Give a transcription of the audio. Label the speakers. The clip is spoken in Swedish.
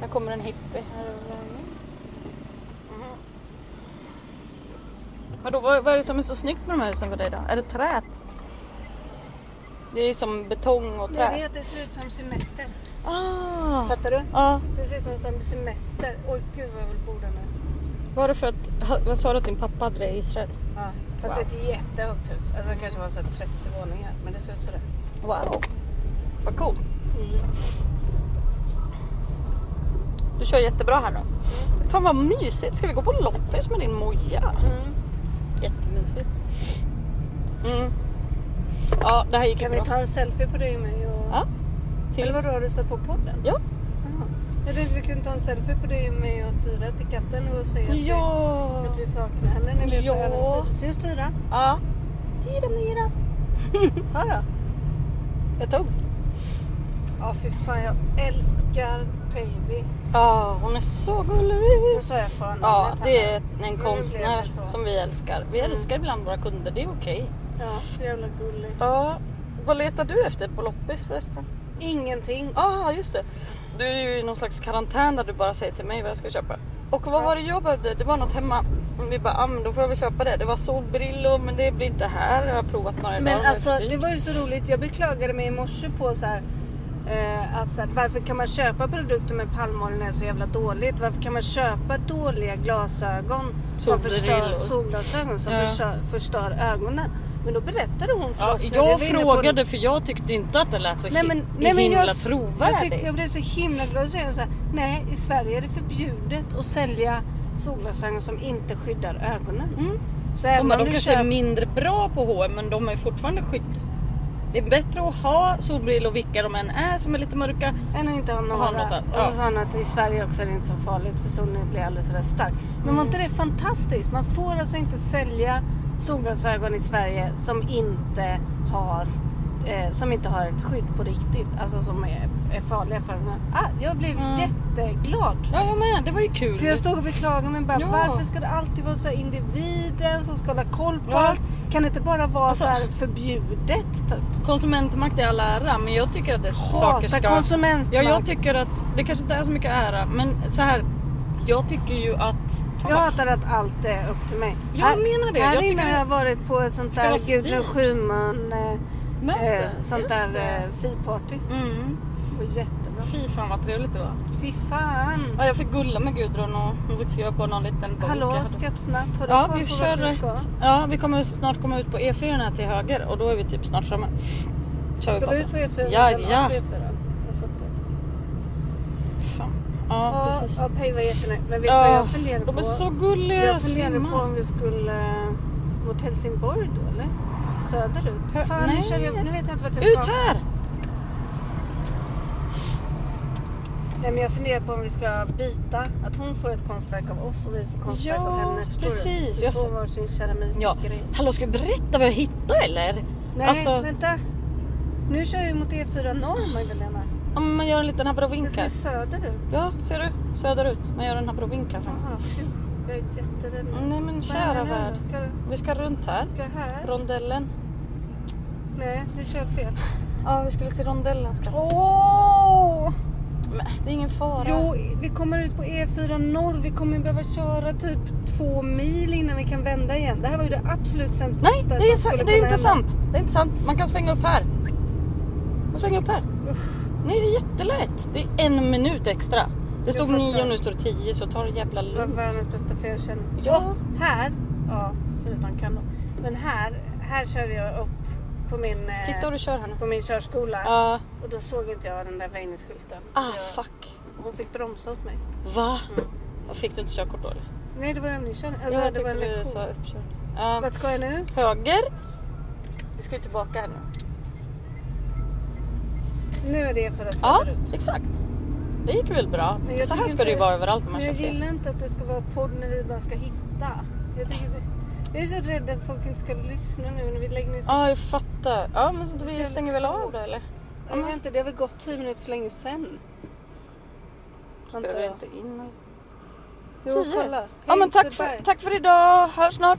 Speaker 1: någon hippie här övervägen.
Speaker 2: Mhm.
Speaker 1: Vadå, vad, vad är det som är så snyggt med de här husen för dig då? Är det träet? Det är ju som betong och
Speaker 2: Jag
Speaker 1: trä.
Speaker 2: vet, det ser ut som semester.
Speaker 1: Ah,
Speaker 2: Fattar du?
Speaker 1: ja.
Speaker 2: Det ser ut som semester. Oj gud vad jag vill bo där nu.
Speaker 1: Var det för att, vad sa du att din pappa hade det i Israel?
Speaker 2: Ja, fast
Speaker 1: Wow.
Speaker 2: det är ett jättehögt hus. Alltså det kanske var så här 30 våningar. Men det ser ut sådär.
Speaker 1: Wow. Vad cool.
Speaker 2: Mm.
Speaker 1: Du kör jättebra här då. Fan vad mysigt. Ska vi gå på loppis med din moja?
Speaker 2: Mm.
Speaker 1: Jättemysigt. Mm. Ja, det här gick
Speaker 2: Kan
Speaker 1: ju
Speaker 2: vi
Speaker 1: bra.
Speaker 2: ta en selfie på dig och mig? Och...
Speaker 1: Ja.
Speaker 2: Eller
Speaker 1: Till...
Speaker 2: vadå, har du satt på podden?
Speaker 1: Ja.
Speaker 2: Jaha. Jag tänkte vi kunde ta en selfie på dig och mig och Tyra till katten och säga att,
Speaker 1: Ja.
Speaker 2: vi, att vi saknar henne när vi är
Speaker 1: Ja.
Speaker 2: på äventyr. Syns Tyra?
Speaker 1: Ja. Tira mira.
Speaker 2: Ta då.
Speaker 1: Jag tog.
Speaker 2: Ja fy fan jag älskar baby.
Speaker 1: Ja, hon är så gullig.
Speaker 2: Nu sa jag fan
Speaker 1: Ja,
Speaker 2: namnet
Speaker 1: det
Speaker 2: här.
Speaker 1: är en konstnär
Speaker 2: så.
Speaker 1: som vi älskar.
Speaker 2: Mm.
Speaker 1: Vi älskar ibland våra kunder, det är okej.
Speaker 2: Ja, så jävla gullig.
Speaker 1: Ja. Vad letar du efter på loppis förresten?
Speaker 2: Ingenting.
Speaker 1: Ah, just det. Du är ju i någon slags karantän där du bara säger till mig vad jag ska köpa. Och vad
Speaker 2: Ja.
Speaker 1: var det jag behövde? Det var något hemma. Vi bara, ah, men då får jag väl köpa det. Det var solbrillor men det blir inte här. Jag har provat några dagar.
Speaker 2: Men
Speaker 1: det är
Speaker 2: alltså
Speaker 1: för dyrt.
Speaker 2: det var ju så roligt. Jag beklagade mig i morse på så här, eh, att så här, varför kan man köpa produkter med palmolja när det är så jävla dåligt? Varför kan man köpa dåliga glasögon som
Speaker 1: Solbrillor.
Speaker 2: förstör, solglasögon som
Speaker 1: Ja.
Speaker 2: förstör, förstör ögonen? Men då berättade hon för
Speaker 1: ja,
Speaker 2: oss. när
Speaker 1: jag
Speaker 2: vi var inne på-
Speaker 1: frågade för jag tyckte inte att det lät så
Speaker 2: Nej
Speaker 1: hi-
Speaker 2: men, nej, men
Speaker 1: himla
Speaker 2: jag, s- jag,
Speaker 1: trovärdigt.
Speaker 2: tyckte, jag blev så himla glad och så är jag så här, nej i Sverige är det förbjudet att sälja solglasögon som inte skyddar ögonen.
Speaker 1: Mm.
Speaker 2: Så
Speaker 1: Och
Speaker 2: även
Speaker 1: men
Speaker 2: om
Speaker 1: de
Speaker 2: du
Speaker 1: kanske är
Speaker 2: köper...
Speaker 1: mindre bra på H&M men de är fortfarande skydd. Det är bättre att ha solbrillor vilka de än är som är lite mörka.
Speaker 2: Än att inte ha några.
Speaker 1: ha något annat,
Speaker 2: och
Speaker 1: ja.
Speaker 2: så sa han att i Sverige också är det inte så farligt för solen blir alldeles sådär stark. Men var inte det fantastiskt? Man får alltså inte sälja solglasögon i Sverige som inte har eh, som inte har ett skydd på riktigt, alltså som är, är farliga för ögonen. Ah, jag blev
Speaker 1: Mm.
Speaker 2: jätteglad.
Speaker 1: Ja jag med, det var ju kul.
Speaker 2: För jag stod och beklagade mig bara,
Speaker 1: Ja.
Speaker 2: varför ska det alltid vara så här individen som ska hålla koll på
Speaker 1: Ja.
Speaker 2: allt? Kan det inte bara vara
Speaker 1: Alltså-
Speaker 2: så här förbjudet? Typ?
Speaker 1: Konsumentmakt i all ära men jag tycker att det saker
Speaker 2: Hata
Speaker 1: ska...
Speaker 2: konsumentmakt.
Speaker 1: Ja, jag tycker att det kanske inte är så mycket ära, men så här. Jag tycker ju att... Fan,
Speaker 2: Jag
Speaker 1: vad-
Speaker 2: hatar att allt är upp till mig.
Speaker 1: Jag menar det.
Speaker 2: Här
Speaker 1: Jag
Speaker 2: jag
Speaker 1: tycker
Speaker 2: inne har
Speaker 1: det-
Speaker 2: jag varit på ett sånt
Speaker 1: Ska
Speaker 2: där
Speaker 1: vara
Speaker 2: Gudrun
Speaker 1: styrt.
Speaker 2: Schyman
Speaker 1: Möte,
Speaker 2: eh, eh, sånt
Speaker 1: just
Speaker 2: där
Speaker 1: det.
Speaker 2: eh, fi-party.
Speaker 1: Mm.
Speaker 2: Det var jättebra.
Speaker 1: Fy fan vad trevligt det var.
Speaker 2: Fy fan.
Speaker 1: Ja, jag fick gulla med Gudrun och hon fick skriva på någon liten bok. jag
Speaker 2: Hallå
Speaker 1: hade.
Speaker 2: skattfnatt, har du
Speaker 1: Ja,
Speaker 2: koll
Speaker 1: vi
Speaker 2: på
Speaker 1: kör
Speaker 2: vart vi ska?
Speaker 1: rätt. Ja, vi kommer snart komma ut på E4 här till höger och då är vi typ snart framme. Kör vi
Speaker 2: Ska
Speaker 1: pappa.
Speaker 2: du ut på E4?
Speaker 1: Ja,
Speaker 2: Eller
Speaker 1: ja.
Speaker 2: på E4? Jag fattar.
Speaker 1: Fan. Ja,
Speaker 2: Ja,
Speaker 1: precis.
Speaker 2: ja, Pej var jättenöjd. Men vet du vad
Speaker 1: Ja,
Speaker 2: jag funderar på?
Speaker 1: De är så gulliga.
Speaker 2: jag funderar
Speaker 1: slimma.
Speaker 2: på om vi skulle eh, mot Helsingborg då eller?
Speaker 1: Hör-
Speaker 2: Söderut? Fan,
Speaker 1: nej.
Speaker 2: nu, kör vi, nu vet jag inte vart jag ska.
Speaker 1: Ut här!
Speaker 2: Nej men jag funderar på om vi ska byta. Att hon får ett konstverk av oss och vi får konstverk
Speaker 1: Ja,
Speaker 2: av henne. Förstår
Speaker 1: precis.
Speaker 2: du? Vi
Speaker 1: Jag
Speaker 2: får
Speaker 1: så-
Speaker 2: varsin keramikgrej.
Speaker 1: Ja. Hallå, ska jag berätta vad jag hittade eller?
Speaker 2: Nej
Speaker 1: Alltså-
Speaker 2: vänta. Nu kör jag ju mot E4 norr Magdalena.
Speaker 1: Ja, men man gör en liten
Speaker 2: Vi ska
Speaker 1: abrovinka.
Speaker 2: ju söderut.
Speaker 1: Ja, ser du? Söderut. Man gör en abrovinka fram.
Speaker 2: Jaha, phew. Jag är jätterädd nu.
Speaker 1: Nej men
Speaker 2: Vad händer
Speaker 1: kära
Speaker 2: nu
Speaker 1: värld.
Speaker 2: då? Ska, du-
Speaker 1: Vi ska runt här.
Speaker 2: ska jag här?
Speaker 1: Rondellen.
Speaker 2: Nej, nu kör jag fel.
Speaker 1: Ja, vi skulle till rondellen. Ska.
Speaker 2: Åh!
Speaker 1: Men det är ingen fara.
Speaker 2: Jo, vi kommer ut på E4 norr. Vi kommer ju behöva köra typ två mil innan vi kan vända igen. Det här var ju det absolut sämsta
Speaker 1: Nej, det är,
Speaker 2: som
Speaker 1: sa-
Speaker 2: skulle
Speaker 1: det är
Speaker 2: kunna
Speaker 1: inte
Speaker 2: hända.
Speaker 1: sant. Det är inte sant. Man kan svänga upp här. Man svänger upp här. Nej, det är jättelätt. Det är en minut extra. Det stod
Speaker 2: fattar.
Speaker 1: nio och nu står det tio så ta det jävla
Speaker 2: Det var
Speaker 1: lugnt.
Speaker 2: världens bästa felkänning.
Speaker 1: Ja.
Speaker 2: Och här, ja förutom kanon. Men här, här körde jag upp på min, eh,
Speaker 1: Titta hur du kör här nu.
Speaker 2: på min körskola.
Speaker 1: Ja.
Speaker 2: Och då såg inte jag den där väjningsskylten.
Speaker 1: ah,
Speaker 2: Jag-
Speaker 1: fuck.
Speaker 2: Hon fick bromsa åt mig.
Speaker 1: Va? Fick du inte körkort då eller?
Speaker 2: Nej det var övningskörning. Alltså,
Speaker 1: Ja, jag
Speaker 2: Mm. det var
Speaker 1: tyckte
Speaker 2: en
Speaker 1: du
Speaker 2: lektion.
Speaker 1: sa uppkörning. Ja.
Speaker 2: Vart ska jag nu?
Speaker 1: Höger. Vi ska ju tillbaka här nu.
Speaker 2: Nu är det för att
Speaker 1: Ja,
Speaker 2: söderut.
Speaker 1: exakt. Det gick väl bra.
Speaker 2: Men jag
Speaker 1: Så här
Speaker 2: tycker
Speaker 1: ska det ju
Speaker 2: inte-
Speaker 1: vara överallt när man
Speaker 2: Men
Speaker 1: kör
Speaker 2: jag
Speaker 1: fel.
Speaker 2: gillar inte att det ska vara podd när vi bara ska hitta. Jag, tycker det, jag är så rädd att folk inte ska lyssna nu när vi lägger ner så...
Speaker 1: Ja, jag fattar. Ja, men så
Speaker 2: Det
Speaker 1: vi
Speaker 2: känns
Speaker 1: stänger väl av
Speaker 2: tråkigt.
Speaker 1: det eller?
Speaker 2: jag vet inte, det har väl gått 10 minuter för länge sen.
Speaker 1: Spelar vi inte in?
Speaker 2: Jo,
Speaker 1: Tio?
Speaker 2: kolla.
Speaker 1: Ja, men tack
Speaker 2: Hej,
Speaker 1: för,
Speaker 2: goodbye.
Speaker 1: tack för idag. Hörs snart.